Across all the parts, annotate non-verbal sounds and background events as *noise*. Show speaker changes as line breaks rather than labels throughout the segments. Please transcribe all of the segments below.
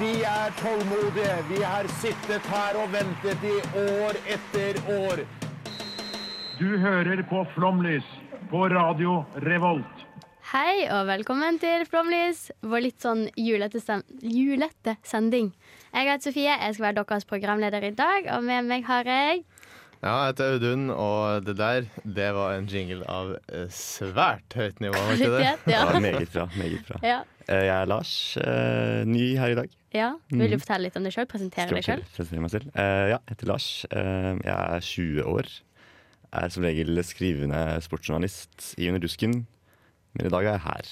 Vi er tålmodige. Vi har sittet her og ventet i år etter år.
Du hører på Flomlys på Radio Revolt.
Hei og velkommen til Flomlys, vår litt sånn julete, sem- julete sending. Jeg heter Sofie, jeg skal være deres programleder i dag, og med meg har jeg
Ja, jeg heter Audun, og det der, det var en jingle av eh, svært høyt nivå, var ikke det?
kvalitet. *laughs* Ja.
Ja, meget bra. meget bra.
Ja.
Eh, Jeg er Lars, eh, ny her i dag.
ja. Vil du fortelle litt om deg sjøl? Presentere
Skal
deg sjøl?
jeg presentere meg selv? Eh, Ja, jeg heter Lars. Eh, Jeg er 20 år. Er som regel skrivende sportsjournalist i Under dusken, men i dag er jeg her.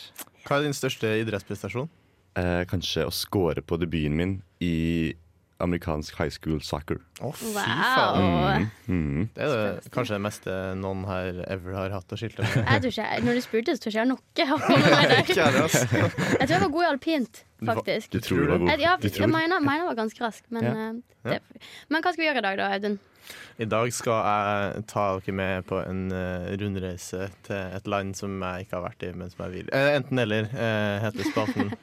Hva er din største idrettsprestasjon?
Eh, Kanskje å score på debuten min i amerikansk high school soccer.
Å, fy faen.
Wow.
Mhm.
Mm. Det er det, kanskje det meste noen her ever har hatt å skilte *laughs* med.
Jeg tror ikke, jeg- når du spurte, så tror jeg ikke jeg har noe å komme med
*laughs*
der.
Ikke ærlig, ass.
Jeg tror jeg var god i alpint,
var-
faktisk.
Du tror du var
Jeg,
god?
ja,
Du tror
jeg
det?
mener, mener jeg var ganske rask, men,
Ja.
eh, det, men hva skal vi gjøre i dag, da, Audun?
I dag skal jeg ta dere med på en eh, rundreise til et land som jeg ikke har vært i, men som jeg vil. Eh, enten eller, eh, heter spalten.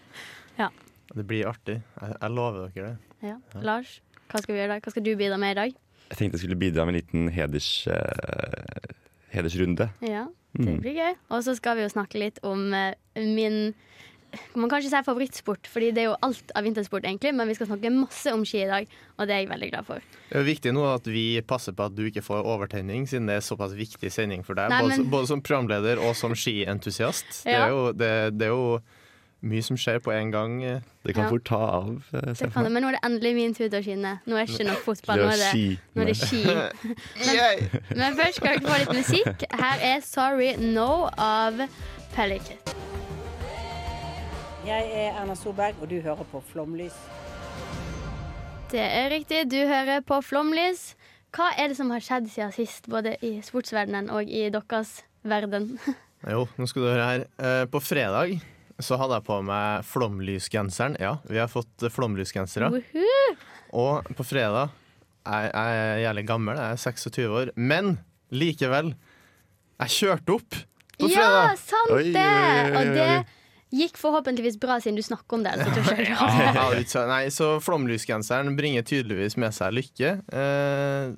Ja.
Det blir artig. Jeg, jeg lover dere det.
Ja. Lars, hva skal vi gjøre i dag? Hva skal du bidra med i dag?
Jeg tenkte jeg skulle bidra med en liten heders, eh, hedersrunde.
Ja,
Mm.
det blir gøy. Og så skal vi jo snakke litt om eh, min Man kan ikke si favorittsport, Fordi det er jo alt av vintersport, egentlig. Men vi skal snakke masse om ski i dag, og det er jeg veldig glad for.
Det er viktig nå at vi passer på at du ikke får overtenning, siden det er såpass viktig sending for deg.
Nei,
både,
men-
både som programleder og som skientusiast. Det,
Ja.
er jo, det, det er jo mye som skjer på en gang.
Det kan
Ja.
fort ta av. eh, ser
Det
jeg for
kan,
meg.
men nå er det endelig min tur til å skinne. Nå er det ikke nok fotball, nå er det, nå er det ski. Men først skal dere få litt musikk. Her er 'Sorry No' av Pellicet.
Jeg er Erna Solberg, og du hører på Flomlys.
Det er riktig. Du hører på Flomlys. Hva er det som har skjedd siden sist, både i sportsverdenen og i deres verden?
Jo, nå skal du høre her. Eh, På fredag så hadde jeg på meg flomlysgenseren. Ja, vi har fått eh, flomlysgensere.
Woohoo!
Og på fredag Jeg, jeg er jævlig gammel, jeg er 26 år. Men likevel, jeg kjørte opp på fredag.
Ja, sant
Oi,
det!
oi, oi, oi,
Og det gikk forhåpentligvis bra, siden du snakker om det. Så tror jeg ikke det.
Ja, ut- så- Nei, så flomlysgenseren bringer tydeligvis med seg lykke. Eh,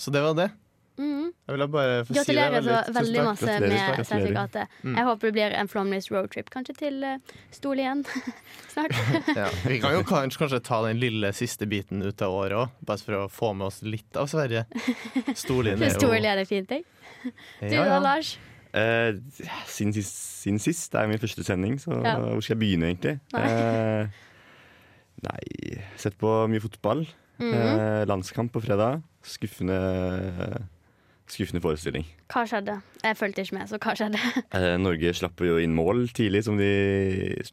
så det var det.
Mhm.
Jeg ville bare få si det.
Gratulerer så
Tusen
veldig
takk.
masse
Gratulerer,
med
gratulerer.
sertifikatet. Jeg håper det blir en flomlys roadtrip, kanskje til eh, Stol igjen *laughs* snart.
Ja. Vi kan jo kanskje, kanskje ta den lille siste biten ut av året òg, bare for å få med oss litt av Sverige. Storlien er
*laughs*
jo
Stol igjen er fint, jeg. Du
Ja,
da,
ja.
Lars?
Eh, siden, sist, siden sist. Det er min første sending, så
Ja.
hvor skal jeg begynne, egentlig?
Nei.
Eh, nei Sett på mye fotball.
Mm. Mhm.
eh, landskamp på fredag. Skuffende, skuffende forestilling.
Hva skjedde? Jeg fulgte ikke med, så hva skjedde? *laughs*
Eh, Norge slapp jo inn mål tidlig, som de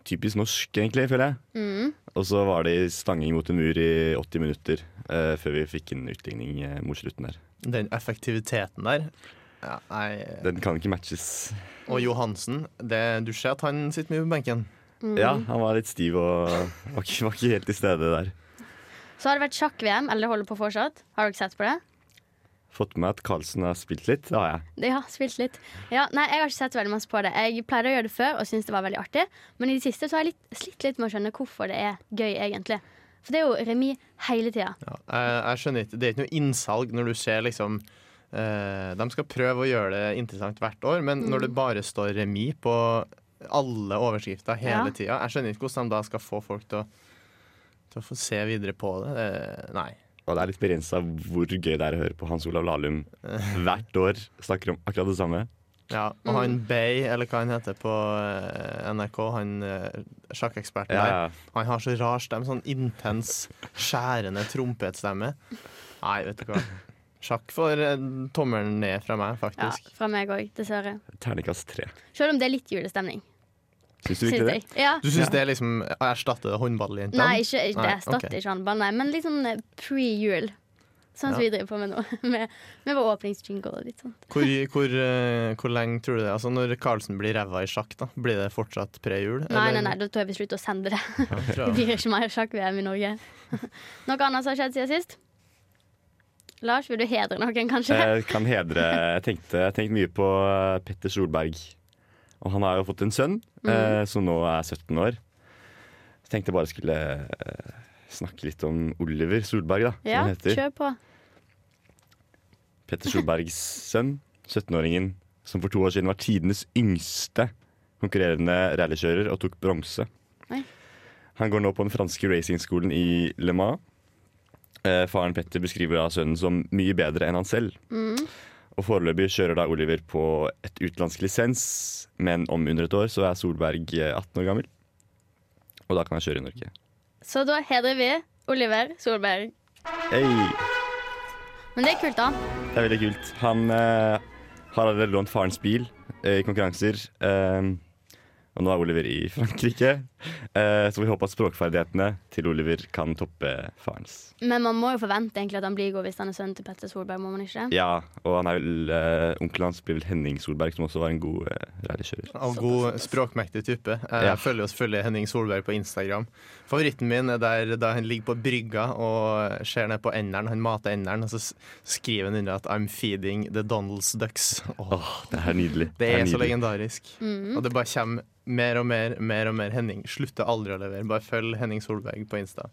typisk norsk, egentlig, føler jeg.
Mhm.
Og så var det stanging mot en mur i 80 minutter eh, før vi fikk en utligning eh, mot slutten der.
Den effektiviteten der. Ja, nei.
Den kan ikke matches.
Og Johansen. Det, du ser at han sitter mye på benken.
Mhm.
Ja, han var litt stiv og *laughs* var ikke, var ikke helt til stede der.
Så har det vært sjakk-VM, eller holder på fortsatt. Har dere sett på det?
Fått med meg at Carlsen har spilt litt. Det har jeg.
Ja, spilt litt. Ja, nei, jeg har ikke sett veldig masse på det. Jeg pleide å gjøre det før og syntes det var veldig artig, men i det siste så har jeg litt, slitt litt med å skjønne hvorfor det er gøy, egentlig. For det er jo remis hele tida.
Ja, jeg, jeg skjønner ikke. Det er ikke noe innsalg når du ser liksom eh, De skal prøve å gjøre det interessant hvert år, men når
Mm.
det bare står remis på alle overskrifter hele
Ja.
tida Jeg skjønner ikke hvordan de da skal få folk til å, til å få se videre på det. Eh, nei.
Og det er litt begrensa hvor gøy det er å høre på Hans Olav Lahlum hvert år snakker om akkurat det samme.
Ja, og han
Mm.
Bay, eller hva han heter på eh, NRK, han eh, sjakkeksperten
Ja, ja.
der, han har så rar stemme. Sånn intens, skjærende trompetstemme. Nei, vet du hva. Sjakk får eh, tommelen ned fra meg,
Ja,
faktisk.
fra meg òg, dessverre.
Terningkast tre.
Selv om det er litt julestemning.
Syns du
Synes
virkelig det?
jeg. Ja.
Du syns det er liksom å erstatte håndballjentene?
Nei, ikke, ikke, det
Nei,
erstatter
ok.
ikke håndball, nei, men litt sånn eh, pre-jul. Sånn som vi driver på med nå. *laughs* Med, med vår åpningsjingle og litt sånt.
Hvor, hvor, eh, hvor lenge tror du det er? Altså, når Carlsen blir ræva i sjakk, da, blir det fortsatt pre-jul?
Nei, nei, nei, da tror jeg vi slutter å sende det. Det blir ikke mer sjakk-VM i Norge. *laughs* Noe annet som har skjedd siden sist? Lars, vil du hedre noen, kanskje?
Jeg Eh, kan hedre Jeg tenkte, jeg tenkte mye på eh, Petter Solberg. Og han har jo fått en sønn
Mm.
eh, som nå er 17 år. Så tenkte jeg bare skulle eh, snakke litt om Oliver Solberg, da, som
ja,
han heter.
kjør på.
Petter Solbergs sønn, 17-åringen, som for to år siden var tidenes yngste konkurrerende rallykjører og tok bronse.
Oi.
Han går nå på den franske racingskolen i Le Mans. Eh, faren Petter beskriver da sønnen som mye bedre enn han selv. Og foreløpig kjører da Oliver på et utenlandsk lisens, men om under et år så er Solberg eh, 18 år gammel. Og da kan han kjøre i Norge.
Så da hedrer vi Oliver Solberg.
Hey!
Men det er kult, da.
Det er veldig kult. Han eh, har allerede lånt farens bil eh, i konkurranser. eh, og nå er Oliver i Frankrike, eh, så vi håper at språkferdighetene til Oliver kan toppe farens.
Men man må jo forvente egentlig at han blir god hvis han er sønnen til Petter Solberg, må man ikke?
Ja, og han er vel, eh, onkelen hans blir vel Henning Solberg, som også var en god eh, rallykjører.
Av god, språkmektig type. Jeg
Ja.
følger jo selvfølgelig Henning Solberg på Instagram. Favoritten min er der da han ligger på brygga og ser ned på enderen. Han mater enderen, og så s- skriver han under at 'I'm feeding the Donald's ducks'. Åh,
Det er nydelig.
det er så
nydelig.
legendarisk.
Mhm.
Og det bare kommer mer og mer, mer og mer. Henning slutter aldri å levere. Bare følg Henning Solberg på Insta.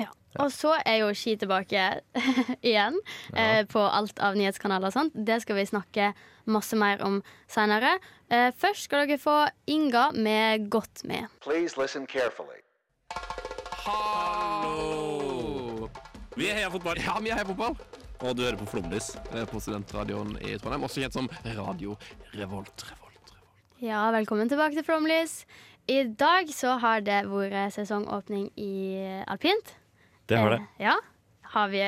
Ja. Og så er jo Ski tilbake *laughs* igjen eh, på alt av nyhetskanaler og sånt. Det skal vi snakke masse mer om seinere. Eh, først skal dere få Inga med Godt med.
Please listen carefully.
Hallo! Vi heier fotball. Ja, vi heier fotball. Og du hører på Flomlys eh, på studentradioen i Trondheim, også kjent som Radio Revolt. Revolt, Revolt.
Ja, velkommen tilbake til Flomlys. I dag så har det vært sesongåpning i alpint.
Det har det.
Eh, Ja. Har vi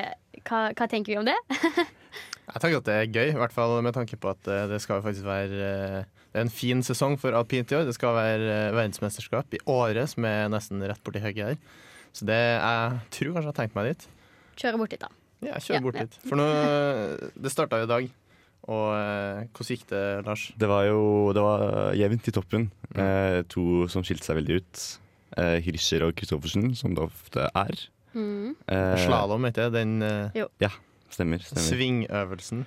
hva, hva tenker vi om det?
Jeg tenker at det er gøy, i hvert fall med tanke på at eh, det skal jo faktisk være eh, Det er en fin sesong for alpint i år. Det skal være eh, verdensmesterskap i året, som er nesten rett borti høyre her. Så det jeg tror kanskje jeg har tenkt meg dit.
Kjøre bort dit, da.
Ja, jeg
Ja,
kjører bort
ja.
dit. For nå eh, Det starta jo i dag. Og eh, hvordan gikk det, Lars?
Det var jo det var jevnt i toppen.
Mm.
Eh, to som skilte seg veldig ut. Eh, Hirscher og Kristoffersen, som det ofte er. Eh,
Slalåm, heter det. Den eh,
Ja, stemmer. stemmer.
svingøvelsen.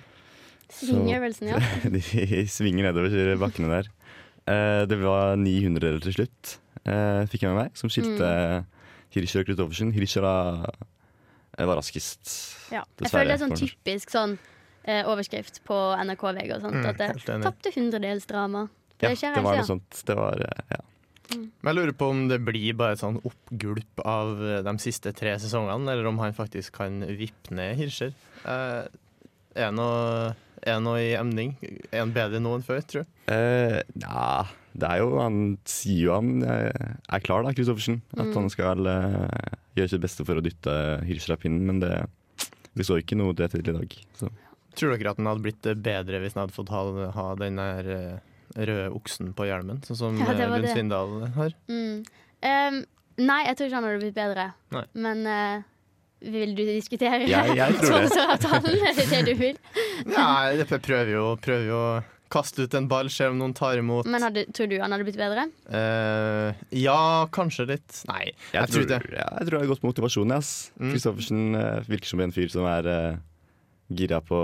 Svingøvelsen,
*laughs*
ja.
De svinger nedover bakkene der. Eh, det var 900 til slutt, eh, fikk jeg med meg, som skilte
Mm.
Hirscher og Kristoffersen. Hirscher da, eh, var raskest.
ja. Jeg
Dessverre,
føler det er sånn
for-
typisk sånn eh, overskrift på NRK VG og sånt. at
Mm, helt
det
enig.
tapte hundredelsdrama. For
Ja,
det skjer
det var
hele
noe
tida.
sånt. Det var, eh, ja.
Men jeg lurer på om det blir bare et sånn oppgulp av eh, de siste tre sesongene, eller om han faktisk kan vippe ned Hirscher. Eh, er det noe er det noe i emning? Er han bedre nå enn før, tror du?
Eh, nja, det er jo Han sier jo han eh, er klar, da, Kristoffersen. At
Mm.
han skal eh, gjøre sitt beste for å dytte Hirscher av pinnen, men det vi så ikke noe til det til i dag. Så.
Tror dere at han hadde blitt eh, bedre hvis han hadde fått ha, ha den der eh, røde oksen på hjelmen, sånn som
Ja,
ja,
det var
Lund
det.
Svindal har?
Mm. Ehm, nei, jeg tror ikke han hadde blitt bedre.
Nei.
Men eh, vil du diskutere
Jeg-
*laughs*
jeg tror det.
sponsoravtalen? Er det det du vil?
Nei, jeg prøver jo, prøver jo å kaste ut en ball, se om noen tar imot.
Men hadde, tror du han hadde blitt bedre?
Eh, ja, kanskje litt. Nei, jeg, tror ikke det. Mm.
Ja, jeg tror det er godt med motivasjon. Ass. Kristoffersen eh, virker som en fyr som er eh, gira på,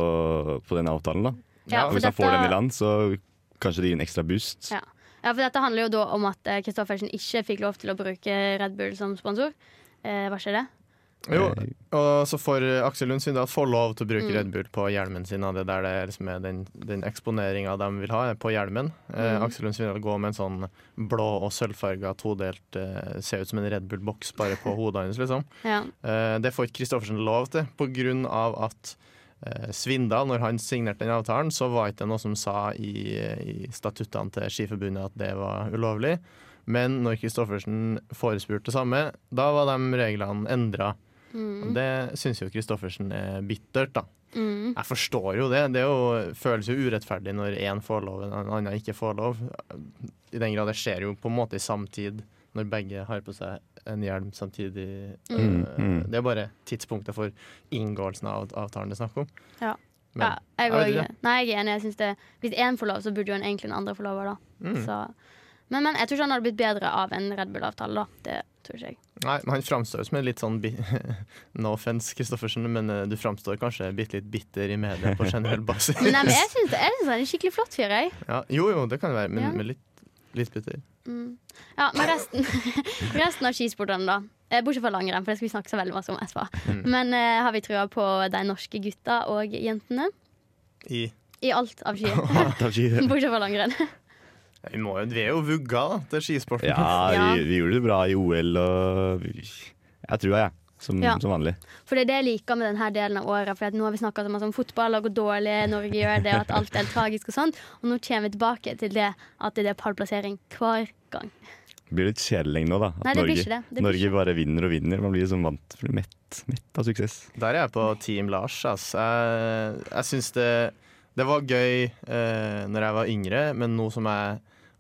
på den avtalen. Da.
Ja,
Og
for
hvis han får
dette-
den i land, så kanskje det gir en ekstra boost.
Ja. ja, for dette handler jo da om at eh, Kristoffersen ikke fikk lov til å bruke Red Bull som sponsor. Eh, var ikke det?
Jo,
Eh,
og så får eh, Aksel Lund Svindal få lov til å bruke Red Bull på hjelmen sin. og Det er der det er liksom er den, den eksponeringa de vil ha, er på hjelmen. Eh, Aksel Lund Svindal går med en sånn blå og sølvfarga todelt eh, Ser ut som en Red Bull-boks bare på hodet hans, liksom.
Ja.
Eh, det får ikke Kristoffersen lov til, på grunn av at eh, Svindal, når han signerte den avtalen, så var ikke det noe som sa i, i statuttene til Skiforbundet at det var ulovlig. Men når Kristoffersen forespurte det samme, da var de reglene endra. Og Det syns jo Kristoffersen er bittert, da.
Mm.
Jeg forstår jo det. Det er jo, føles jo urettferdig når én får lov, og en annen ikke får lov. I den grad det skjer jo på en måte i samtid, når begge har på seg en hjelm samtidig.
Mm.
Eh,
Mm.
Det er bare tidspunktet for inngåelsen av avtalen det er snakk om.
Ja.
Men,
ja, jeg,
jeg vet
og-
ikke.
nei, jeg er enig. Jeg synes det, hvis én får lov, så burde jo en- egentlig den andre få lov òg, da.
Mm.
Så, men, men jeg tror ikke han hadde blitt bedre av en Red Bull-avtale, da. Det tror ikke jeg.
*laughs* Nei, men han framstår jo som en litt sånn bi *laughs* No offense, Kristoffersen, men eh, du framstår kanskje bitte litt bitter i media på generell basis.
Men, *laughs* nei, men jeg syns han er en skikkelig flott fyr, jeg.
*laughs* Ja, jo, jo, det kan det være, men,
Ja.
men litt, litt bitter.
Ja, men resten, *laughs* resten av skisportene, da. Eh, Bortsett fra langrenn, for det skal vi snakke så veldig masse om etterpå.
Mm.
Men eh, har vi trua på de norske gutta og jentene?
I
I alt av
*laughs*
ski.
Ja,
Bortsett fra langrenn.
Ja, Vi, må jo, vi er jo vugga da, til skisporten.
vi, vi gjorde det bra i OL og vi- Jeg tror jeg, som,
Ja.
som vanlig.
For det er det jeg liker med denne delen av året. For at nå har vi snakka så mye om fotball og hvor dårlig Norge gjør det, og at alt er tragisk og sånt. Og nå kommer vi tilbake til det at det er pallplassering hver gang.
Det blir litt kjedelig lenge nå, da. At
Nei, det blir
Norge,
ikke det. Det blir
Norge
ikke
bare vinner og vinner. Man blir liksom vant blir mett, mett av suksess.
Der er jeg på Team Lars. ass. Jeg, jeg syns det, det var gøy eh, når jeg var yngre, men nå som jeg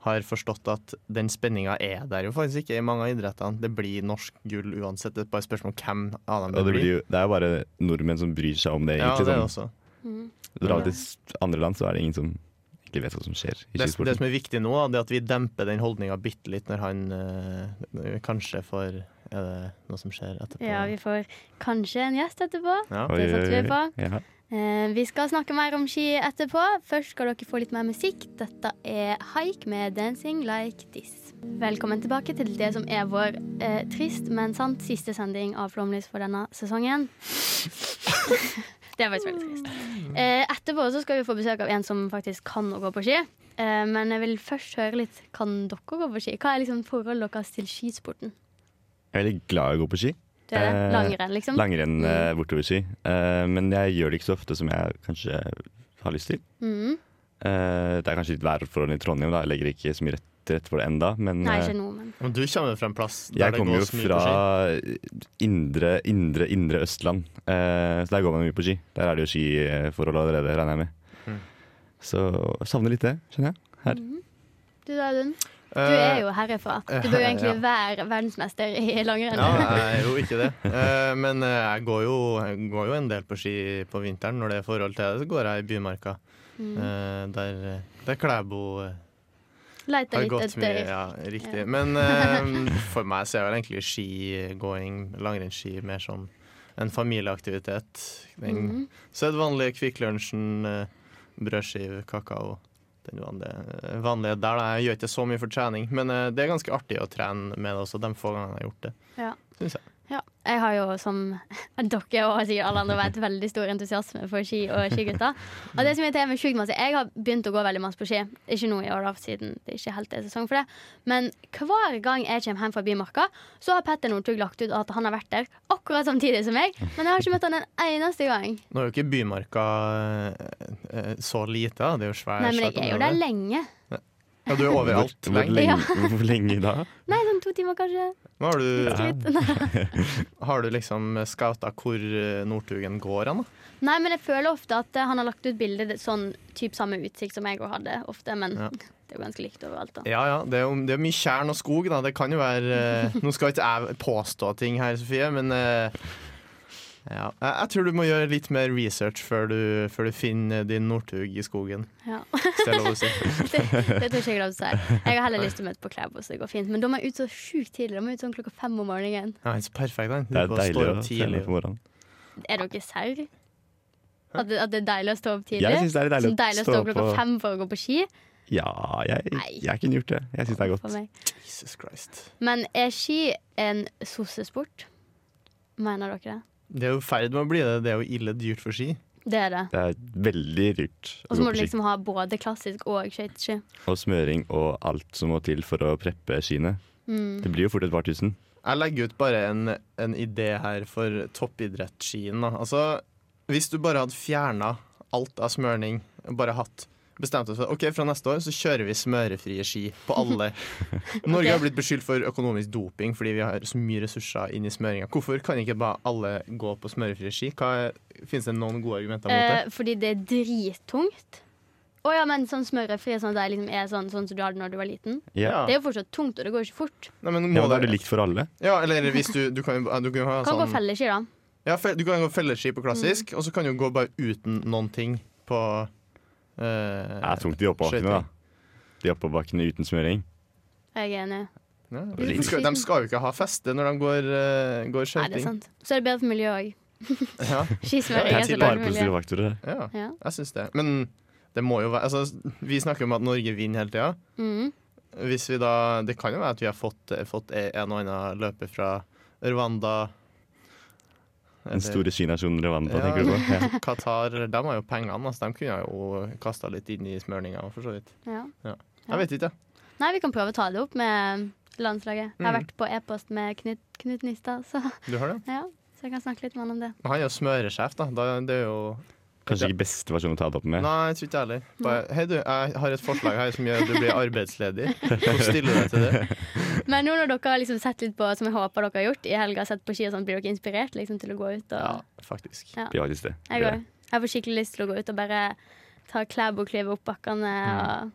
har forstått at den spenninga er der jo faktisk ikke i mange av idrettene. Det blir norsk gull uansett. Det er bare spørsmål om hvem av dem
Og det,
det blir.
blir jo, det er jo bare nordmenn som bryr seg om det,
Ja,
egentlig.
det altså. er
sånn.
også.
Drar vi til s- andre land, så er det ingen som egentlig vet hva som skjer i
Det, det
skisporten.
som er viktig nå, det er at vi demper den holdninga bitte litt når han eh, kanskje får Er det noe som skjer etterpå?
Ja, vi får kanskje en gjest etterpå.
Ja.
det
Oi,
satte
oi,
vi
oi.
på.
Ja.
Eh, vi skal snakke mer om ski etterpå. Først skal dere få litt mer musikk. Dette er Haik med 'Dancing Like This'. Velkommen tilbake til det som er vår eh, trist, men sant siste sending av Flomlys for denne sesongen. *laughs* det er faktisk veldig trist. Eh, etterpå så skal vi få besøk av en som faktisk kan å gå på ski. Eh, men jeg vil først høre litt Kan dere gå på ski. Hva er liksom forholdet deres til skisporten?
Jeg er veldig glad i å gå på ski.
Det er det.
Eh,
Langrenn, liksom?
Langrenn eh, bortoverski. Eh, men jeg gjør det ikke så ofte som jeg kanskje har lyst til.
Mhm.
Eh, det er kanskje litt værforhold i Trondheim, da. Jeg legger ikke så mye rett, til rette for det enda, men
Nei,
eh,
ikke nå, men
Men du kommer jo fra en plass der
jeg
det
kommer jo
gås mye på
fra
ski.
indre, indre, indre Østland, eh, så der går man mye på ski. Der er det jo skiforhold allerede, regner jeg med.
Mm.
Så jeg savner litt det, skjønner jeg. Her.
Du da, Audun? Du er jo herifra. Du bør jo egentlig
Eh, ja.
være verdensmester i langrenn.
Ja, jeg er jo ikke det. Eh, Men eh, jeg går jo, jeg går jo en del på ski på vinteren. Når det er forhold til det, så går jeg i Bymarka. Eh, Der, der Klæbo eh,
Leite
har
litt
gått mye.
etter
Ja, riktig. Men eh, for meg så er vel egentlig skigåing, langrennsski, mer som en familieaktivitet. Den sedvanlige Kvikk Lunsjen, eh, brødskive, kakao. Den vanlige, vanlige der. Da. Jeg gjør ikke så mye for trening, men eh, det er ganske artig å trene med det også, de få gangene jeg har gjort det.
Ja.
Synes jeg.
Ja. Jeg har jo, som *laughs* dere og sikkert alle andre vet, veldig stor entusiasme for ski og skigutter. Og det som irriterer meg sjukt masse, jeg har begynt å gå veldig masse på ski. Ikke nå i år, da, siden det ikke helt er sesong for det. Men hver gang jeg kommer hjem fra Bymarka, så har Petter Northug lagt ut at han har vært der akkurat samtidig som meg. Men jeg har ikke møtt han en eneste gang.
Nå er jo ikke Bymarka eh, eh, så lite, da. det er jo svært.
Nei, men jeg er jo der lenge.
Ja, du er overalt.
Hvor, hvor,
lenge.
lenge,
Ja.
hvor lenge da?
Nei, sånn to timer kanskje.
Nå har du,
Bitte litt.
har du liksom scouta hvor eh, Northugen går han, da?
Nei, men jeg føler ofte at eh, han har lagt ut bilder det- sånn typ samme utsikt som jeg òg hadde ofte, men
Ja.
*laughs* det er jo ganske likt overalt, da.
Ja, ja. Det er, jo, det er mye tjern og skog, da. Det kan jo
*laughs*
være eh, Nå skal ikke jeg påstå ting her, Sofie, men eh, ja. jeg, jeg tror du må gjøre litt mer research før du, før du finner din Northug i skogen.
Ja. *laughs*
hvis det er lov å si.
Det, det tror ikke jeg er lov til å si. Jeg har heller lyst til å møte på Klæbo, så det går fint. Men de er ute så sjukt tidlig. De er ute sånn klokka fem om morgenen.
Ja, han er så perfekt, han.
Det er
Bare
deilig
står
å
opp
trene
tidlig.
på morgenen.
Er dere serr? At, det- at det er deilig å stå opp tidlig?
Jeg syns det er
Sånn
litt
deilig å stå opp klokka fem for å gå på ski?
Ja, jeg,
Nei.
jeg kunne gjort det. Jeg syns det er
For
godt.
meg.
Jesus Christ.
Men er ski en sossesport? Mener dere det?
Det er jo i ferd med å bli det. Det er jo ille dyrt for ski.
Det er det.
Det er veldig
Og
dyrt å
så
gå
må
på
du
ski.
liksom ha både klassisk og skøyteski.
Og smøring og alt som må til for å preppe skiene.
Mm.
Det blir jo fort et par tusen.
Jeg legger ut bare en, en idé her for toppidrettsskien. da. Altså, hvis du bare hadde fjerna alt av smørning, bare hatt bestemt oss for ok, fra neste år så kjører vi smørefrie ski på
*laughs*
alle. Norge har blitt beskyldt for økonomisk doping fordi vi har så mye ressurser inn i smøringa. Hvorfor kan ikke bare alle gå på smørefrie ski? Hva er, finnes det noen gode argumenter mot det?
Eh, fordi det er drittungt. Å ja, men sånn smørefri sånn at de liksom er sånn, sånn som du hadde når du var liten.
Ja.
Det er jo fortsatt tungt, og det går ikke fort.
Nei, men må
Ja, men Da er
det-
det likt for alle.
Ja, eller hvis du, du kan jo du kan jo ha
Kan gå
sånn
felleski, da.
ja, fe- Du kan gå felleski på klassisk,
Mm.
og så kan du gå bare uten noen ting på eh,
Det er tungt i oppoverbakkene, da. De oppoverbakkene uten smøring.
Jeg er enig.
ja.
Blir
de,
for
skal,
sliten.
de skal jo ikke ha feste når de går, uh, går
Nei, det er
skøyting.
sant. Så er det bedre for miljøet òg.
Ja,
Skismøring
Det
er
er
så
bare
bra for
positive
miljøet.
faktorer. her.
ja,
Ja.
jeg syns det. Men det må jo være altså, Vi snakker om at Norge vinner hele tida.
Mhm.
Hvis vi da, det kan jo være at vi har fått, fått en og annen løper fra Rwanda.
Den store kinasjonen Rwanda,
Ja.
tenker du på? Ja.
*laughs* Qatar. De har jo pengene, altså. De kunne jo kasta litt inn i smørninga, for så vidt.
Ja.
Jeg vet ikke, jeg.
Nei, vi kan prøve å ta det opp med landslaget. Jeg har
Mhm.
vært på e-post med Knut, Knut Nystad, så,
Du har det?
ja, så jeg kan snakke litt med han om det.
Han er jo smøresjef, da. da det er jo *laughs*
Kanskje ikke beste versjon å ta det opp med.
Nei, jeg tror ikke jeg heller. Bare, Hei, du, jeg har et forslag her som gjør at du blir arbeidsledig. Så stiller du deg til det.
Men nå når dere har liksom sett litt på, som jeg håper dere har gjort i helga, sett på ski og sånn, blir dere inspirert liksom, til å gå ut? Og,
Ja, faktisk.
Ja.
Ja, faktisk det.
Jeg òg. Jeg får skikkelig lyst til å gå ut og bare ta klæboklyve opp bakkene og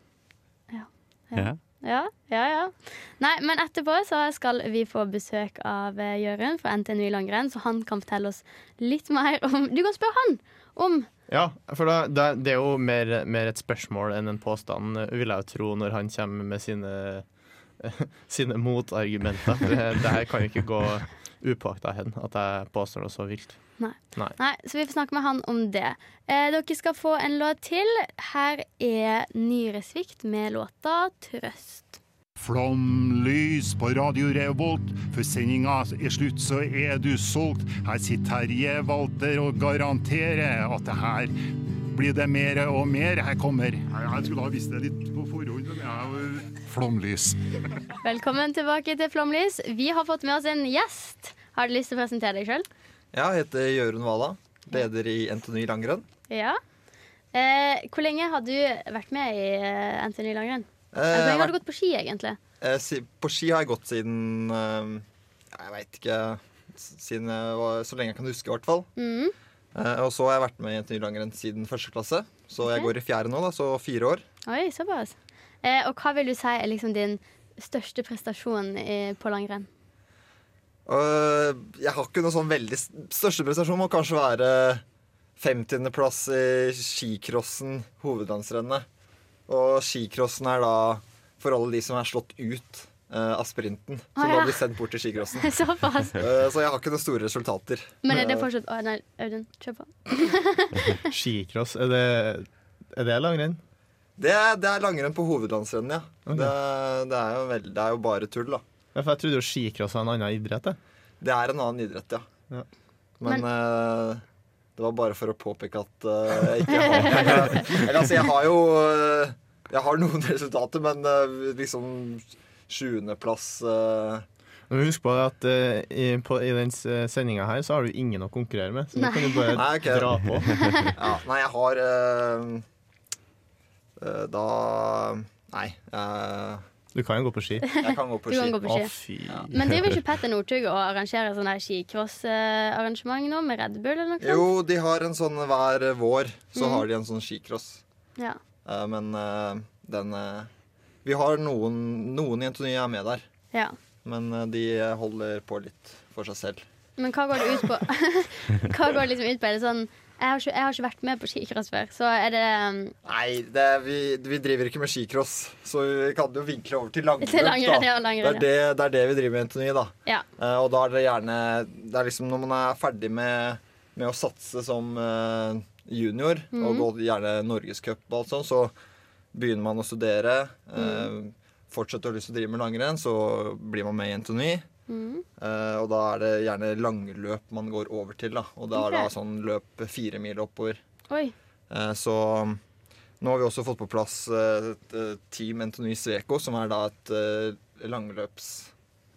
Ja.
Ja, ja, ja. Nei, men etterpå så skal vi få besøk av eh, Jørund fra NTNU i langrenn, så han kan fortelle oss litt mer om Du kan spørre han om
Ja, for da, det, er- det er jo mer, mer et spørsmål enn en påstand, vil jeg jo tro, når han kommer med sine, *laughs* sine motargumenter. For det, det her kan jo ikke gå upåakta hen, at jeg påstår det så vilt.
Nei, så vi får snakke med han om det. Eh, dere skal få en låt til. Her er Nyresvikt med låta 'Trøst'.
Flomlys på Radio Revolt, for sendinga er slutt, så er du solgt. Her sitter Terje Walter og garanterer at det her blir det mer og mer. Her kommer Jeg skulle ha visst det litt på forhånd. men jeg er jo- Flomlys.
Velkommen tilbake til Flomlys. Vi har fått med oss en gjest. Har du lyst til å presentere deg sjøl?
Jeg heter Jørund Vala, leder i NTNU langrenn.
Ja. Eh, hvor lenge har du vært med i eh, NTNU langrenn?
Eh,
Hvor lenge har
vært-
du gått på ski, egentlig?
eh, si- på ski har jeg gått siden eh, Jeg veit ikke s- siden jeg var, Så lenge jeg kan huske, i hvert fall.
Mhm.
Eh, og så har jeg vært med i NTNU langrenn siden første klasse. Så jeg
Ok.
går i fjerde nå, da, så fire år.
Oi, såpass. Eh, og hva vil du si er liksom din største prestasjon i, på langrenn? *laughs*
Og jeg har ikke noe sånn veldig s- Største prestasjon må kanskje være 50.-plass i skicrossen, hovedlandsrennet. Og skicrossen er da for alle de som er slått ut eh, av sprinten. Som
Å, ja.
da blir sendt bort til skicrossen.
såpass.
Eh, Så jeg har ikke noen store resultater.
Men er det fortsatt Å, nei, Audun, kjør på.
Skicross, er det, er det langrenn?
Det er, det er langrenn på hovedlandsrennet, ja.
Ok.
Det, er- det, er jo veld, det er jo bare tull, da.
Ja, for jeg trodde jo skicross var en annen idrett. Jeg.
Det er en annen idrett, ja.
Ja.
Men, eh, det var bare for å påpeke at eh, jeg
*laughs*
ikke har eller, eller altså, jeg har jo eh, Jeg har noen *laughs* resultater, men eh, liksom sjuendeplass eh,
Men husk på at eh, i, på, i den sendinga her så har du ingen å konkurrere med. Så nå kan du bare
Nei, ok.
dra på.
Ja, nei, jeg har eh, eh, Da Nei. eh,
Du kan jo gå på ski. Mm.
jeg kan *laughs* gå på
Du kan
ski.
gå på
Å,
ski.
fy.
Men driver ikke Petter Northug og arrangerer sånn her skicross-arrangement nå, med Red Bull eller noe sånt?
Jo, de har en sånn hver vår, så har de en sånn skicross.
Ja.
Eh, Men eh, den eh, Vi har noen, noen i Antony er med der,
ja.
men eh, de holder på litt for seg selv.
Men hva går det ut på? *laughs* hva går det liksom ut på? Er det sånn jeg har, ikke, jeg har ikke vært med på skicross før, så er det um,
Nei, det, vi, vi driver ikke med skicross, så vi kan jo vinkle over til langløp.
Til langrenn,
da.
ja, langrenn,
det, er det, det er det vi driver med i Antony, da.
Ja.
Eh, Og da er det gjerne Det er liksom når man er ferdig med, med å satse som eh, junior, og gå gjerne norgescup og alt sånt, så begynner man å studere. eh, Fortsetter å ha lyst til å drive med langrenn, så blir man med i Antony.
Mm.
Eh, og da er det gjerne langløp man går over til. da Og da er det
Ok.
sånn løp fire mil oppover.
Oi.
Eh, så nå har vi også fått på plass eh, et, eh, Team Antony Sveko, som er da et eh, langløps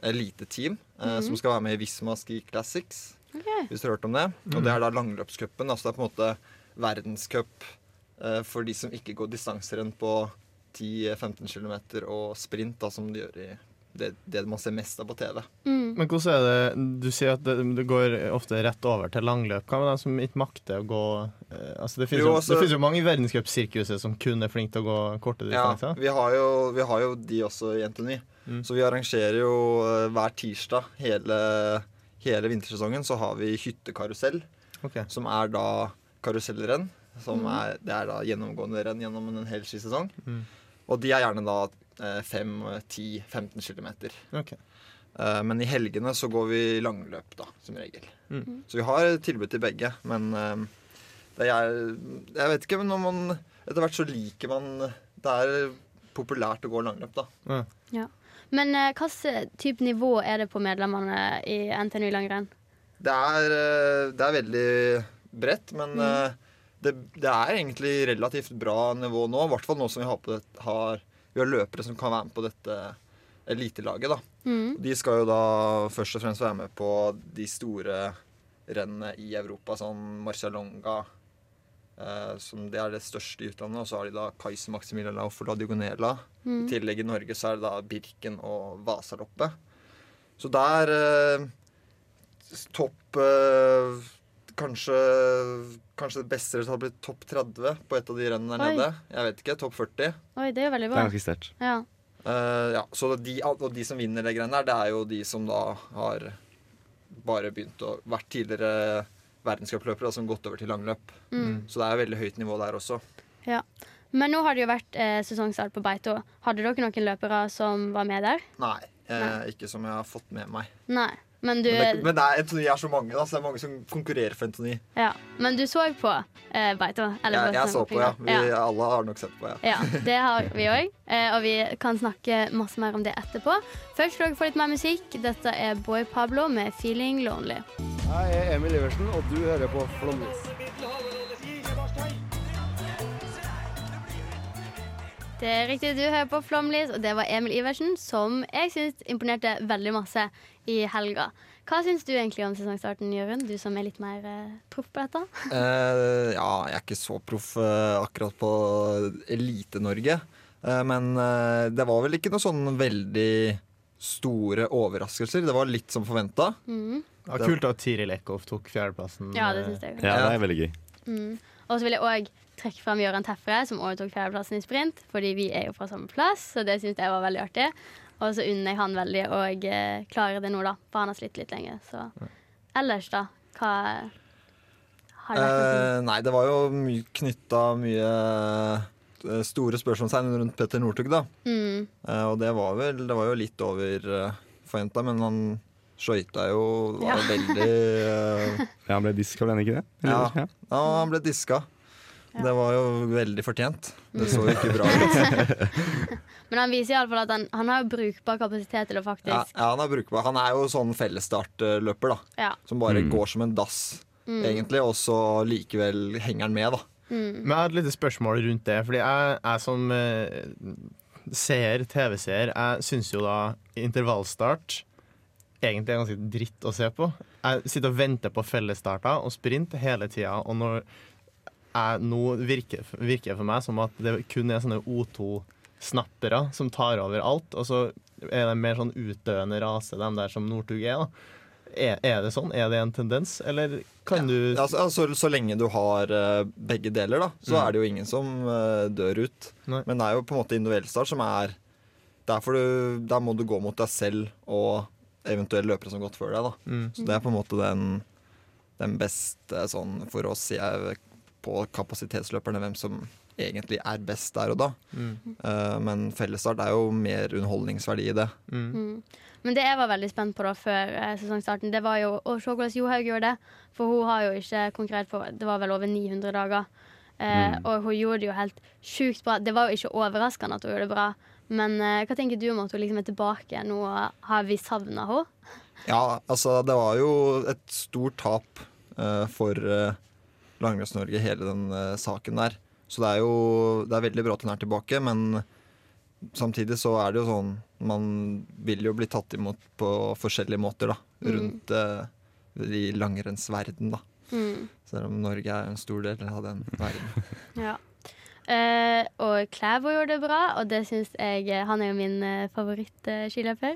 eliteteam. eh, Som skal være med i Visma Ski Classics,
Ok.
hvis du har hørt om det. Og det er da langløpscupen. Altså det er på en måte verdenscup eh, for de som ikke går distanserenn på 10-15 km og sprint, da, som de gjør i det, det man ser mest av på TV.
Men hvordan er det Du sier at det, det går ofte rett over til langløp. Hva med dem som ikke makter å gå eh, altså Det
Jo,
finnes jo,
altså-
det finnes jo mange i verdenscupsirkuset som kun er flinke til å gå korte
Ja,
distanser.
vi har jo, vi har jo de også i NTNU. Så vi arrangerer jo eh, hver tirsdag hele, hele vintersesongen så har vi hyttekarusell,
Ok.
som er da karusellrenn. Som er, det er da gjennomgående renn gjennom en hel skisesong. Og de er gjerne da eh, 5-10-15 km.
ok.
Eh, Men i helgene så går vi langløp, da, som regel. Så vi har tilbud til begge, men eh, det er Jeg vet ikke, men når man Etter hvert så liker man Det er populært å gå langløp, da.
Ja. Men eh, hvilket type nivå er det på medlemmene i NTNU langrenn?
Det er, eh, det er veldig bredt, men eh, det, det er egentlig relativt bra nivå nå. I hvert fall nå som vi har, på det, har, vi har løpere som kan være med på dette elitelaget. Da. De skal jo da først og fremst være med på de store rennene i Europa, sånn Marcialonga, eh, som det er det største i utlandet. Og så har de da Kaiser Maximilian Lauf og La Digonela. I tillegg i Norge så er det da Birken og Vasaloppet. Så der eh, topp eh, kanskje, kanskje det beste resultatet blir topp 30 på et av de rennene der
Oi.
nede. Jeg vet ikke. Topp 40.
Oi, det er jo veldig
Det
bra.
er ganske sterkt.
Ja.
Eh, ja, så de, og de som vinner det greiene der, det er jo de som da har bare begynt å Vært tidligere verdenscupløpere da, som gått over til langløp.
Mm.
Så det er veldig høyt nivå der også.
ja. Men nå har det jo vært eh, sesongstart på Beito. Hadde dere noen løpere som var med der?
Nei, eh, ikke som jeg har fått med meg.
Nei. Men du,
Men, det, men det er, Entony er så mange, da, så det er mange som konkurrerer for Entony.
ja. men du så på eh, Beito? eller
Jeg,
på
jeg så på, ja. Vi,
Ja.
Alle har nok sett på, ja.
Ja, det har vi òg. Eh, og vi kan snakke masse mer om det etterpå. Først skal dere få litt mer musikk. Dette er Boy Pablo med 'Feeling Lonely'.
Jeg er Emil Iversen, og du hører på Flåmlys.
Det er riktig, du hører på Flomlys, og det var Emil Iversen, som jeg syns imponerte veldig masse i helga. Hva syns du egentlig om sesongstarten, Jørund? Du som er litt mer eh, proff på dette.
Eh, ja, jeg er ikke så proff eh, akkurat på Elite-Norge. Eh, men eh, det var vel ikke noe sånn veldig store overraskelser. Det var litt som forventa.
Ja, kult at Tiril Eckhoff tok fjerdeplassen.
Ja, det syns jeg.
Ja, det er veldig gøy.
Og så vil jeg òg trekke fram Gøran Tefre, som òg tok fjerdeplassen i sprint, fordi vi er jo fra samme plass, så det syns jeg var veldig artig. Og så unner jeg han veldig å eh, klare det nå, da, for han har slitt litt lenge. Så ellers, da, hva har det vært noe som-
Eh, nei, det var jo my knytta mye eh, store spørsmålstegn rundt Petter Northug, da.
Mm.
Eh, og det var vel Det var jo litt over uh, forventa, men han skøyta jo var
Ja.
veldig eh,
*laughs*
Ja, han ble diska, ble han ikke det?
Ja.
ja.
Ja, han ble diska. Det var jo veldig fortjent. Det så jo ikke
*laughs*
bra ut.
Men han viser iallfall at han, han har jo brukbar kapasitet til å
Ja,
faktisk
ja, han er brukbar. Han er jo sånn fellesstartløper, da.
Ja.
Som bare går som en dass, egentlig, og så likevel henger han med, da.
Men jeg har et lite spørsmål rundt det. Fordi jeg, jeg som eh, seer, TV-seer, jeg syns jo da intervallstart egentlig er ganske dritt å se på. Jeg sitter og venter på fellesstarter og sprint hele tida, og når jeg, nå virker virker det for meg som at det kun er sånne O2-snappere som tar over alt, og så er det mer sånn utdøende rase, de der som Northug er, da. Er, er det sånn? Er det en tendens, eller kan du
Ja, så- ja, så, så lenge du har eh, begge deler, da, så er det jo ingen som eh, dør ut.
Nei.
Men det er jo på en måte individuellstart som er Der, får du, der må du gå mot deg selv og eventuelle løpere som har gått før deg. Da. Så det er på en måte den, den beste sånn for oss jeg, på kapasitetsløperne, hvem som egentlig er best der og da. Eh, men fellesstart er jo mer underholdningsverdi i det.
Men det jeg var veldig spent på da før eh, sesongstarten, det var jo å se hvordan Johaug gjorde det. For hun har jo ikke konkurrert på Det var vel over 900 dager. Eh, Og hun gjorde det jo helt sjukt bra. Det var jo ikke overraskende at hun gjorde det bra. Men eh, hva tenker du om at hun liksom er tilbake nå? Har vi savna henne?
Ja, altså det var jo et stort tap eh, for uh, Langrenns-Norge, hele den eh, saken der. Så det er jo det er veldig bra at hun er tilbake, men samtidig så er det jo sånn Man vil jo bli tatt imot på forskjellige måter,
Mm.
da. Rundt eh, i
Mm.
langrennsverden, da. Selv om Norge er en stor del av den verden.
Ja. Eh, og Klæbo gjorde det bra, og det syns jeg Han er jo min eh, favoritt-skiløper.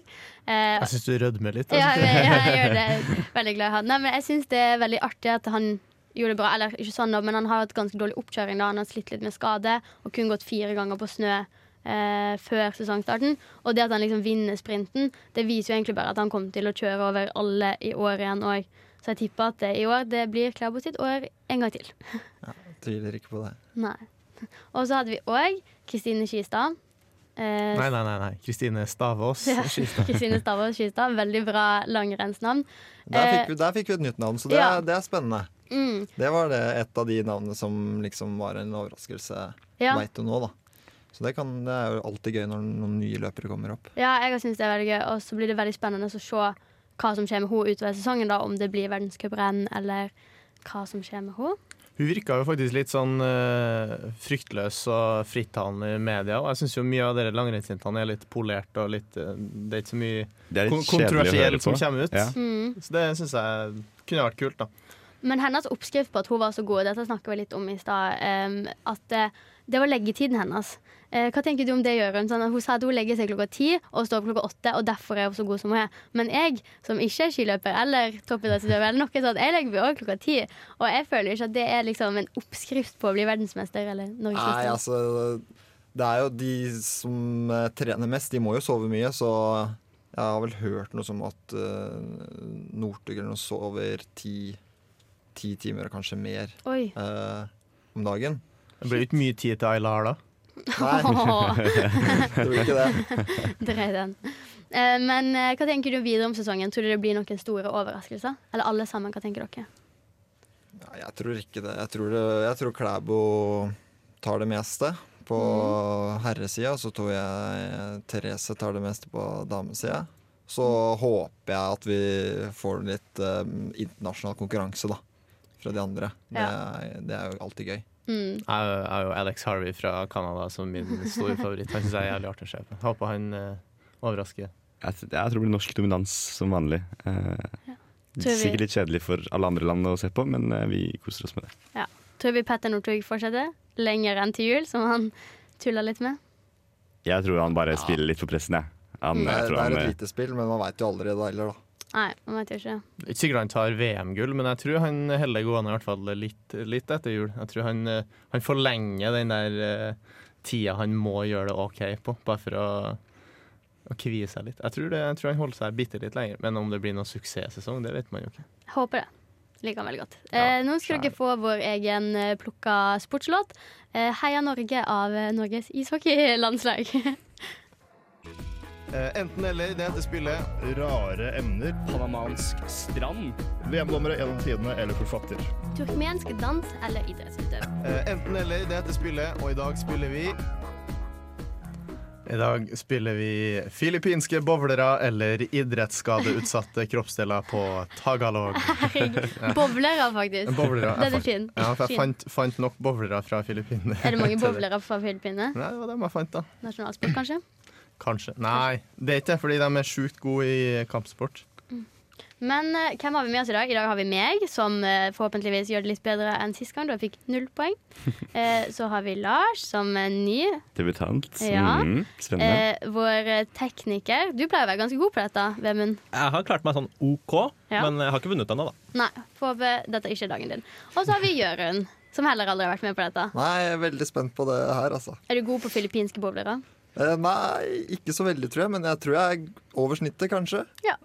Eh,
Jeg syns du rødmer litt.
ja, jeg, jeg gjør det. Jeg er Veldig glad i han. Nei, men jeg syns det er veldig artig at han gjorde det bra. Eller ikke sånn, da, men han har hatt ganske dårlig oppkjøring. da Han har slitt litt med skade og kun gått fire ganger på snø eh, før sesongstarten. Og det at han liksom vinner sprinten, det viser jo egentlig bare at han kommer til å kjøre over alle i år igjen òg. Så jeg tipper at det i år det blir Klæbo sitt år en gang til.
Tviler ikke på det.
Nei. *laughs* Og så hadde vi òg Kristine Skistad. Eh,
Nei, nei, nei. nei. Kristine Stavås.
*laughs* Ja,
Skistad.
Kristine Stavås Skystad. Veldig bra langrennsnavn.
Der
Eh,
fikk vi, der fikk vi et nytt navn, så det,
ja.
er, det er spennende.
Mm,
Det var det et av de navnene som liksom var en overraskelse,
ja.
veit du nå, da. Så det, kan, det er jo alltid gøy når noen nye løpere kommer opp.
ja, jeg har syntes det er veldig gøy. Og så blir det veldig spennende å se hva som skjer med henne utover sesongen. da Om det blir verdenscuprenn eller hva som skjer med henne.
Hun virka jo faktisk litt sånn eh, fryktløs og frittalende i media. Og jeg syns jo mye av dere langrennsjentene er litt polert og litt eh, Det er ikke så mye
Det er
kon
litt kjedelig å høre
kontroversielt
på.
som kommer ut.
Ja.
Mm.
Så det syns jeg kunne vært kult, da.
Men hennes oppskrift på at hun var så god, og dette snakket vi litt om i stad, em, at eh, det var leggetiden hennes. Eh, hva tenker du om det, Jørund? Sånn, at hun sa at hun legger seg klokka ti og står opp klokka åtte, og derfor er hun så god som hun er. Men jeg, som ikke er skiløper eller toppidrettsutøver, eller noe sånt, jeg legger meg òg klokka ti. Og jeg føler ikke at det er liksom en oppskrift på å bli verdensmester eller
Nei,
norgesmester.
altså Det er jo de som eh, trener mest, de må jo sove mye, så jeg har vel hørt noe som at uh, Northug eller noe sover ti, ti timer og kanskje mer
Oi.
eh, om dagen.
Det blir jo ikke mye tid til Ayla har da.
Nei,
*laughs*
tror ikke det.
Drei den. Eh, men eh, hva tenker du videre om sesongen? Tror du det blir noen store overraskelser? Eller alle sammen, hva tenker dere?
Nei, jeg tror ikke det. Jeg tror, det, jeg tror Klæbo tar det meste på Mm. herresida, så tror jeg Therese tar det meste på damesida. Så håper jeg at vi får litt eh, internasjonal konkurranse, da. Fra de andre. Det,
Ja.
er- det er jo alltid gøy.
Mm.
Jeg er jo- jeg er jo Alex Harvey fra Canada som min store favoritt. Han syns jeg er jævlig artig å se på. Jeg Håper han eh, overrasker.
Jeg, t- jeg tror det blir norsk dominans som vanlig. Eh,
Tror vi-
Sikkert litt kjedelig for alle andre land å se på, men eh, vi koser oss med det.
Tror vi Petter Northug fortsetter lenger enn til jul, som han tulla litt med.
Jeg tror han bare spiller litt for pressen, jeg.
Mm.
Han,
Det
jeg
er,
tror
det er
han,
et
eh,
lite spill, men man veit jo aldri det heller, da.
Nei, man vet jo ikke.
Det er Ikke sikkert han tar VM-gull, men jeg tror han heller går an i hvert fall litt, litt etter jul. Jeg tror han, eh, han forlenger den der eh, tida han må gjøre det OK på, bare for å, å kvie seg litt. Jeg tror, det, jeg tror han holder seg bitte litt lenger, men om det blir noen suksesssesong, det vet man jo ikke.
Jeg håper det. Liker han veldig godt. eh, nå skal dere få vår egen eh, plukka sportslåt. Eh, Heia Norge av eh, Norges ishockeylandslag.
Eh, enten eller, det heter spillet.
Rare emner. Panamansk strand. VM-dommere gjennom tidene eller forfatter.
*laughs* Turkmensk dans eller idrettsutøver.
Eh, enten eller, det heter spillet, og i dag spiller vi I dag spiller vi filippinske bowlere eller idrettsskadeutsatte kroppsdeler på tagalog.
Herregud. Bowlere, faktisk.
Bowlere.
Den er fin.
Ja, for jeg
Fin.
fant, fant nok bowlere fra Filippinene.
Er det mange
til
bowlere fra Filippinene?
*laughs* Nei, det var dem jeg fant, da.
Nasjonalsport, kanskje?
Kanskje. Nei, det er ikke det, fordi de er sjukt gode i kampsport.
Men eh, hvem har vi med oss i dag? I dag har vi meg, som eh, forhåpentligvis gjør det litt bedre enn sist gang, da jeg fikk null
*laughs*
poeng. Eh, så har vi Lars som er ny.
debutant.
Ja.
Mm, spennende.
Eh, vår eh, tekniker. Du pleier å være ganske god på dette, Vemund.
Jeg har klart meg sånn OK,
Ja.
men jeg har ikke vunnet ennå, da.
Nei, håper dette er ikke dagen din. Og så har vi Jørund, som heller aldri har vært med på dette.
Nei, jeg er veldig spent på det her, altså.
Er du god på filippinske bowlere?
Eh, Nei, ikke så veldig, tror jeg, men jeg tror jeg er over snittet, kanskje.
Ja.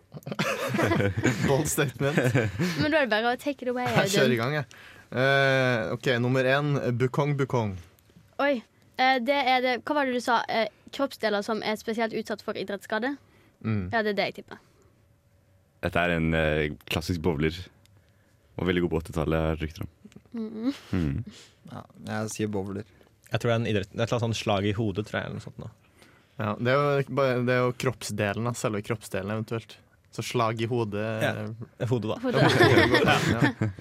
Bold
*laughs*
statement.
Men da er det bare å take it away,
*laughs* Jeg kjører i
Audun.
gang, jeg. Eh, OK, nummer én. Bukong bukong.
Oi. eh, det er det Hva var det du sa? Eh, kroppsdeler som er spesielt utsatt for idrettsskade?
Mm.
Ja, det er det jeg tipper.
Dette er en eh, klassisk bowler. Og veldig god på 80-tallet, har jeg hørt rykter om. Mm.
Ja, jeg sier bowler.
Jeg tror det er en idrett, det er et eller annet sånn slag i hodet, tror jeg. Eller noe sånt, nå.
Ja, det, er jo, bare- det er jo kroppsdelen, da. Selve kroppsdelen, eventuelt. Så slag i hodet.
Ja. Hodet, da.
Hodet.
*laughs* ja.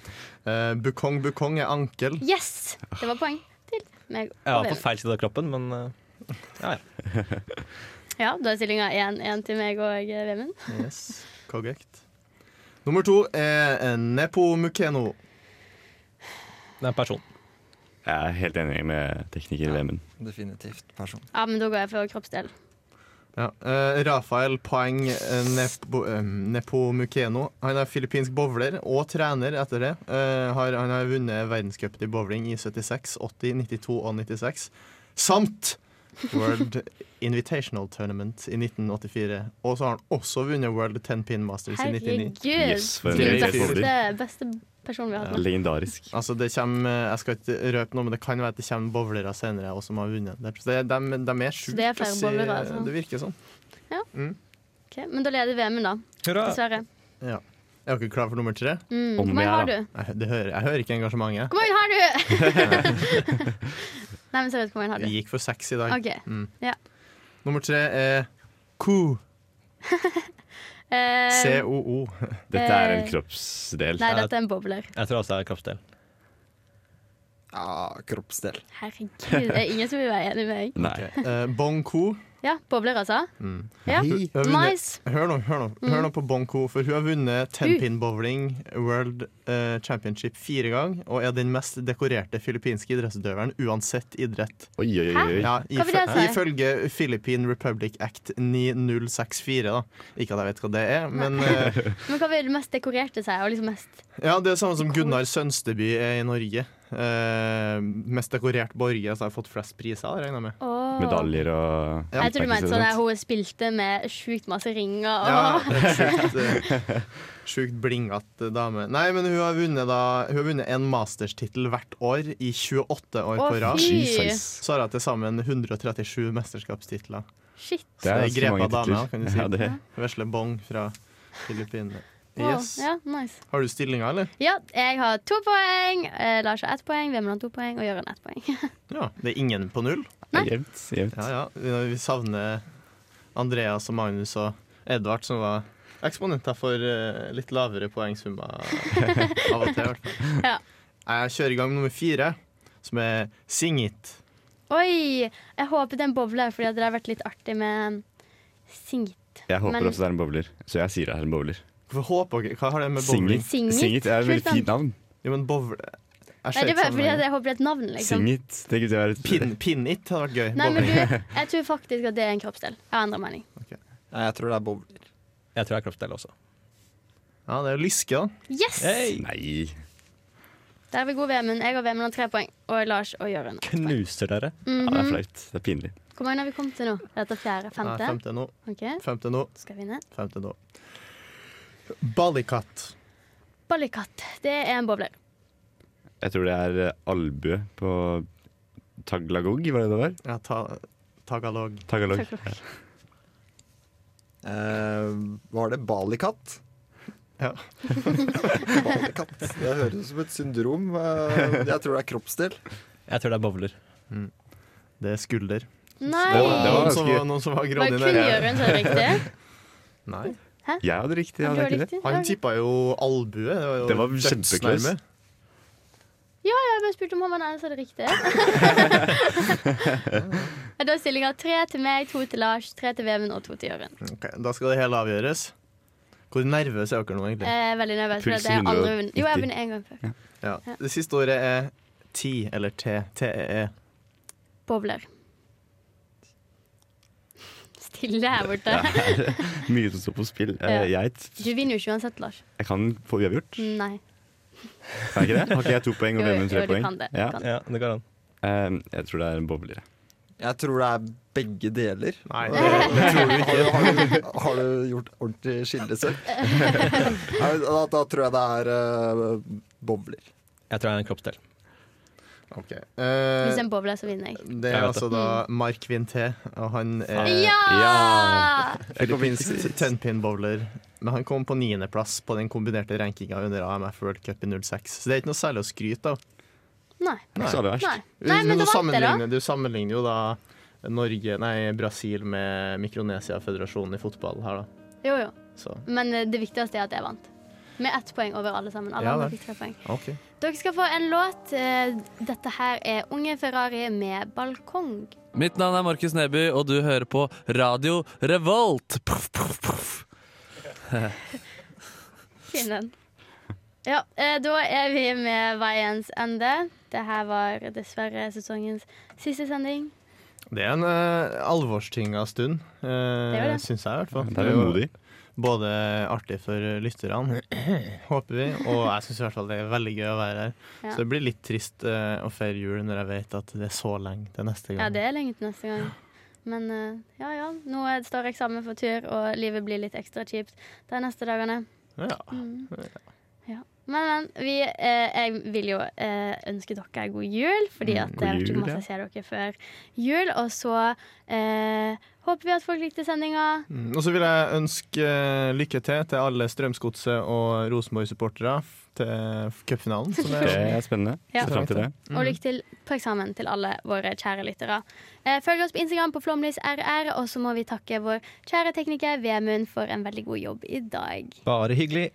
Eh, bukong bukong er ankel.
Yes! Det var poeng til
Jeg
meg. og
var på
Vemund.
feil side av kroppen, men eh,
Ja, da er stillinga 1-1 til meg og eh, Vemund.
Yes, korrekt. Nummer to er Nepo Mukeno.
det er en person.
Jeg er helt enig med tekniker Vemund.
Definitivt person.
Ja, men da går jeg for kroppsdel.
Ja. eh, Rafael Paeng eh, Nepo, eh, Nepomukeno. Han er filippinsk bowler og trener etter det. Eh, har, han har vunnet verdenscupen i bowling i 76, 80, 92 og 96. Samt World Invitational Tournament i 1984. Og så har han også vunnet World 10 Pin Masters i 99.
Herregud! beste, beste personen vi har hatt. nå.
Legendarisk.
Altså det kommer, eh, jeg skal ikke røpe noe, men det kan være at det kommer bowlere senere også som har vunnet. Det, det, de, de er sjukt
det er flere
pussy,
bowlere, altså.
Det virker sånn.
Ja.
Mm.
Ok, men da leder VM-en, da.
Hurra!
Dessverre.
Ja. Er dere klar for nummer tre?
Mm, Om hvor mange jeg er, har da. du?
Jeg, hø- det hører, jeg hører ikke engasjementet.
Hvor mange har du? *laughs* Nei, men seriøst, hvor mange har
Vi
du?
gikk for seks i dag.
Ok.
Mm.
Ja.
Nummer tre er ko.
Eh,
C-O-O.
Dette er en
kroppsdel.
Nei, dette er en bobler.
Jeg tror også det er kroppsdel.
Ja, kroppsdel.
Herregud, det er ingen som vil være enig med meg.
Eh, Bong ko.
Ja, bobler, altså.
Mm.
Ja.
Hun- hun har vunnet-
Nice. Mm.
Hør nå, hør nå, hør nå på Bong Ko, for hun har vunnet
Uh.
tenpin bowling world eh, championship fire gang, og er den mest dekorerte filippinske idrettsutøveren uansett idrett.
Oi, oi,
oi, oi. Hæ?
Ja,
Hva vil det
ifø-
si?
Ifølge Philippine Republic Act 9064, da. Ikke at jeg vet hva det er, men eh,
Men hva vil det mest dekorerte seg? Og liksom mest
ja, det er samme som Gunnar Sønsteby er i Norge. Eh, mest dekorert borger, så jeg har fått flest priser, regner jeg med.
Åh.
Medaljer og
Jeg tror du mente sånn der hun spilte med sjukt masse ringer og
Sjukt, eh, sjukt blingete dame. Nei, men hun har vunnet, da, hun har vunnet en masterstittel hvert år i 28 år
Å,
på rad.
fy! Jesus.
Så har hun til sammen 137 mesterskapstitler.
Shit.
Så det er grepa dame,
titler.
kan du si.
Ja, det er.
Vesle Bong fra Filippinene.
Wow,
Yes.
Ja, nice.
Har du stillinga, eller?
Ja, jeg har to poeng. Eh, Lars har ett poeng, Vemund har to poeng, og Jørund ett poeng. *laughs*
Ja, det er ingen på null.
Jevnt.
Ja, ja. Vi- Vi savner Andreas og Magnus og Edvard, som var eksponenter for eh, litt lavere poengsummer av og til. i hvert fall.
*laughs* Ja.
Jeg kjører i gang med nummer fire, som er Sing It.
Oi! Jeg håpet en boble, fordi at det hadde vært litt artig med um, singit.
Jeg håper
Men-
også det er en bowler, så jeg sier det er en bowler.
Hvorfor håper dere? Hva har det med
Sing
bowling?
It. Sing It. Sing It er et veldig fint navn.
Jo, men bowle Jeg
Nei,
ser
det er
ikke
bare fordi at
sammenhengen.
jeg håper det er et navn, liksom.
Sing it. Det kunne være et
Pin, pin it hadde vært gøy.
Nei, men du,
Bowling.
jeg tror faktisk at det er en kroppsdel. Jeg har endret mening.
Nei, jeg tror det er bowler.
Jeg tror det er kroppsdel også.
Ja, det er jo lyske, da.
Yes!
Nei.
Der er vi gode, Vemund. Jeg og Vemund har tre poeng, og Lars og Jørund.
Knuser dere.
Mhm.
Ja, det er flaut. Det er pinlig.
Hvor mange har vi kommet til nå? Er Dette fjerde? Femte?
Nei, femte nå.
Ok.
Femte nå.
Skal vi ned?
Femte nå. Ballykatt.
Ballykatt. Det er en bobler.
Jeg tror det er eh, albue på taglagog, var det det var?
Ja, ta, tagalog.
Tagalog.
Eh, var det balikatt? *laughs*
Ja.
balikatt. Det høres ut som et syndrom. Eh, jeg tror det er kroppsdel.
Jeg tror det er bowler.
Det er skulder.
Nei!
Det var, det var
Nei.
noen, som var, noen som var
Var
grådig
det kun Jørund som er riktig?
Nei.
Hæ?
Jeg hadde riktig.
Ja, du hadde
Hadde jeg ikke det?
riktig.
Han tippa jo albue. Det var, jo
Det var
dødsnærme.
kjempeklaus.
Ja, jeg bare spurte om han var den eneste som hadde riktig. Og da er stillinga tre til meg, to til Lars, tre til Vemund og to til Jørund.
Ok, da skal det hele avgjøres. Hvor nervøse er dere nå, egentlig?
Jeg er veldig nervøs. for
Puls
at jeg har aldri vunnet. Jo, jeg har
190.
vunnet én gang før.
Ja. Det siste ordet er ti, eller T. E T-E-E.
Bobler. Stille her borte.
Det er Mye som står på spill. Eh,
Ja.
Jeg,
Du vinner jo ikke uansett, Lars.
jeg kan få uavgjort,
Nei.
kan jeg
*laughs*
ikke det? Har ikke jeg to poeng og
Jo,
Vemund
jo,
tre
du
poeng?
kan det, du kan det.
Ja, det går an.
Eh, jeg tror det er en bowler. jeg.
Jeg tror det er begge deler.
Nei,
det, *laughs* tror du ikke. Har, du- har, du- har du gjort ordentlig skille selv? Nei, da, da tror jeg det er eh, bowler.
Jeg tror det er en kroppsdel.
Ok. Eh,
Hvis det er en boble, så vinner jeg.
det
Jeg
er
vet
altså
det.
da Mark Vinté, og han er
Ja!
filippinsk tenpin-bowler. Men han kom på niendeplass på den kombinerte rankinga under AMF World Cup i 06, så det er ikke noe særlig å skryte av.
Nei.
Ikke så aller verst.
Nei. Nei, men
du,
da vant jeg, da.
sammenligner, du sammenligner jo da Norge, nei, Brasil med Mikronesia-føderasjonen i fotball her, da.
Jo, jo.
Så
Men eh, det viktigste er at jeg vant. Med ett poeng over alle sammen. Alle
Ja,
andre
vel.
fikk tre poeng.
OK.
Dere skal få en låt. Eh, Dette her er Unge Ferrari med balkong.
Mitt navn er Markus Neby, og du hører på Radio Revolt. Puff, puff, puff.
Fin den. Ja, eh, da er vi med veiens ende. Det her var dessverre sesongens siste sending.
Det er en uh, alvorstynga stund,
er
uh,
det.
syns jeg i hvert fall.
Det er jo modig.
Både artig for lytterne, *clears throat* håper vi, og jeg syns i hvert fall det er veldig gøy å være her.
Ja.
Så det blir litt trist eh, å feire jul når jeg vet at det er så lenge til neste gang.
Ja, det er lenge til neste gang. Men eh, ja, ja. Nå er- står eksamen for tur, og livet blir litt ekstra kjipt de neste dagene.
Ja.
Mm. Ja. Men, men. Vi, eh, jeg vil jo eh, ønske dere god jul, fordi
Mm,
at
god
jeg vet ikke om
jul, ja.
jeg ser dere før jul. Og så eh, håper vi at folk likte sendinga.
Mm, Og så vil jeg ønske eh, lykke til til alle Strømsgodset og Rosenborg-supportere f- til cupfinalen. som
*laughs* Det er spennende.
Ja.
Se frem til det.
Mm.
Og lykke til på eksamen til alle våre kjære lyttere. Eh, følg oss på Instagram på flomlysrr, og så må vi takke vår kjære tekniker Vemund for en veldig god jobb i dag.
Bare hyggelig.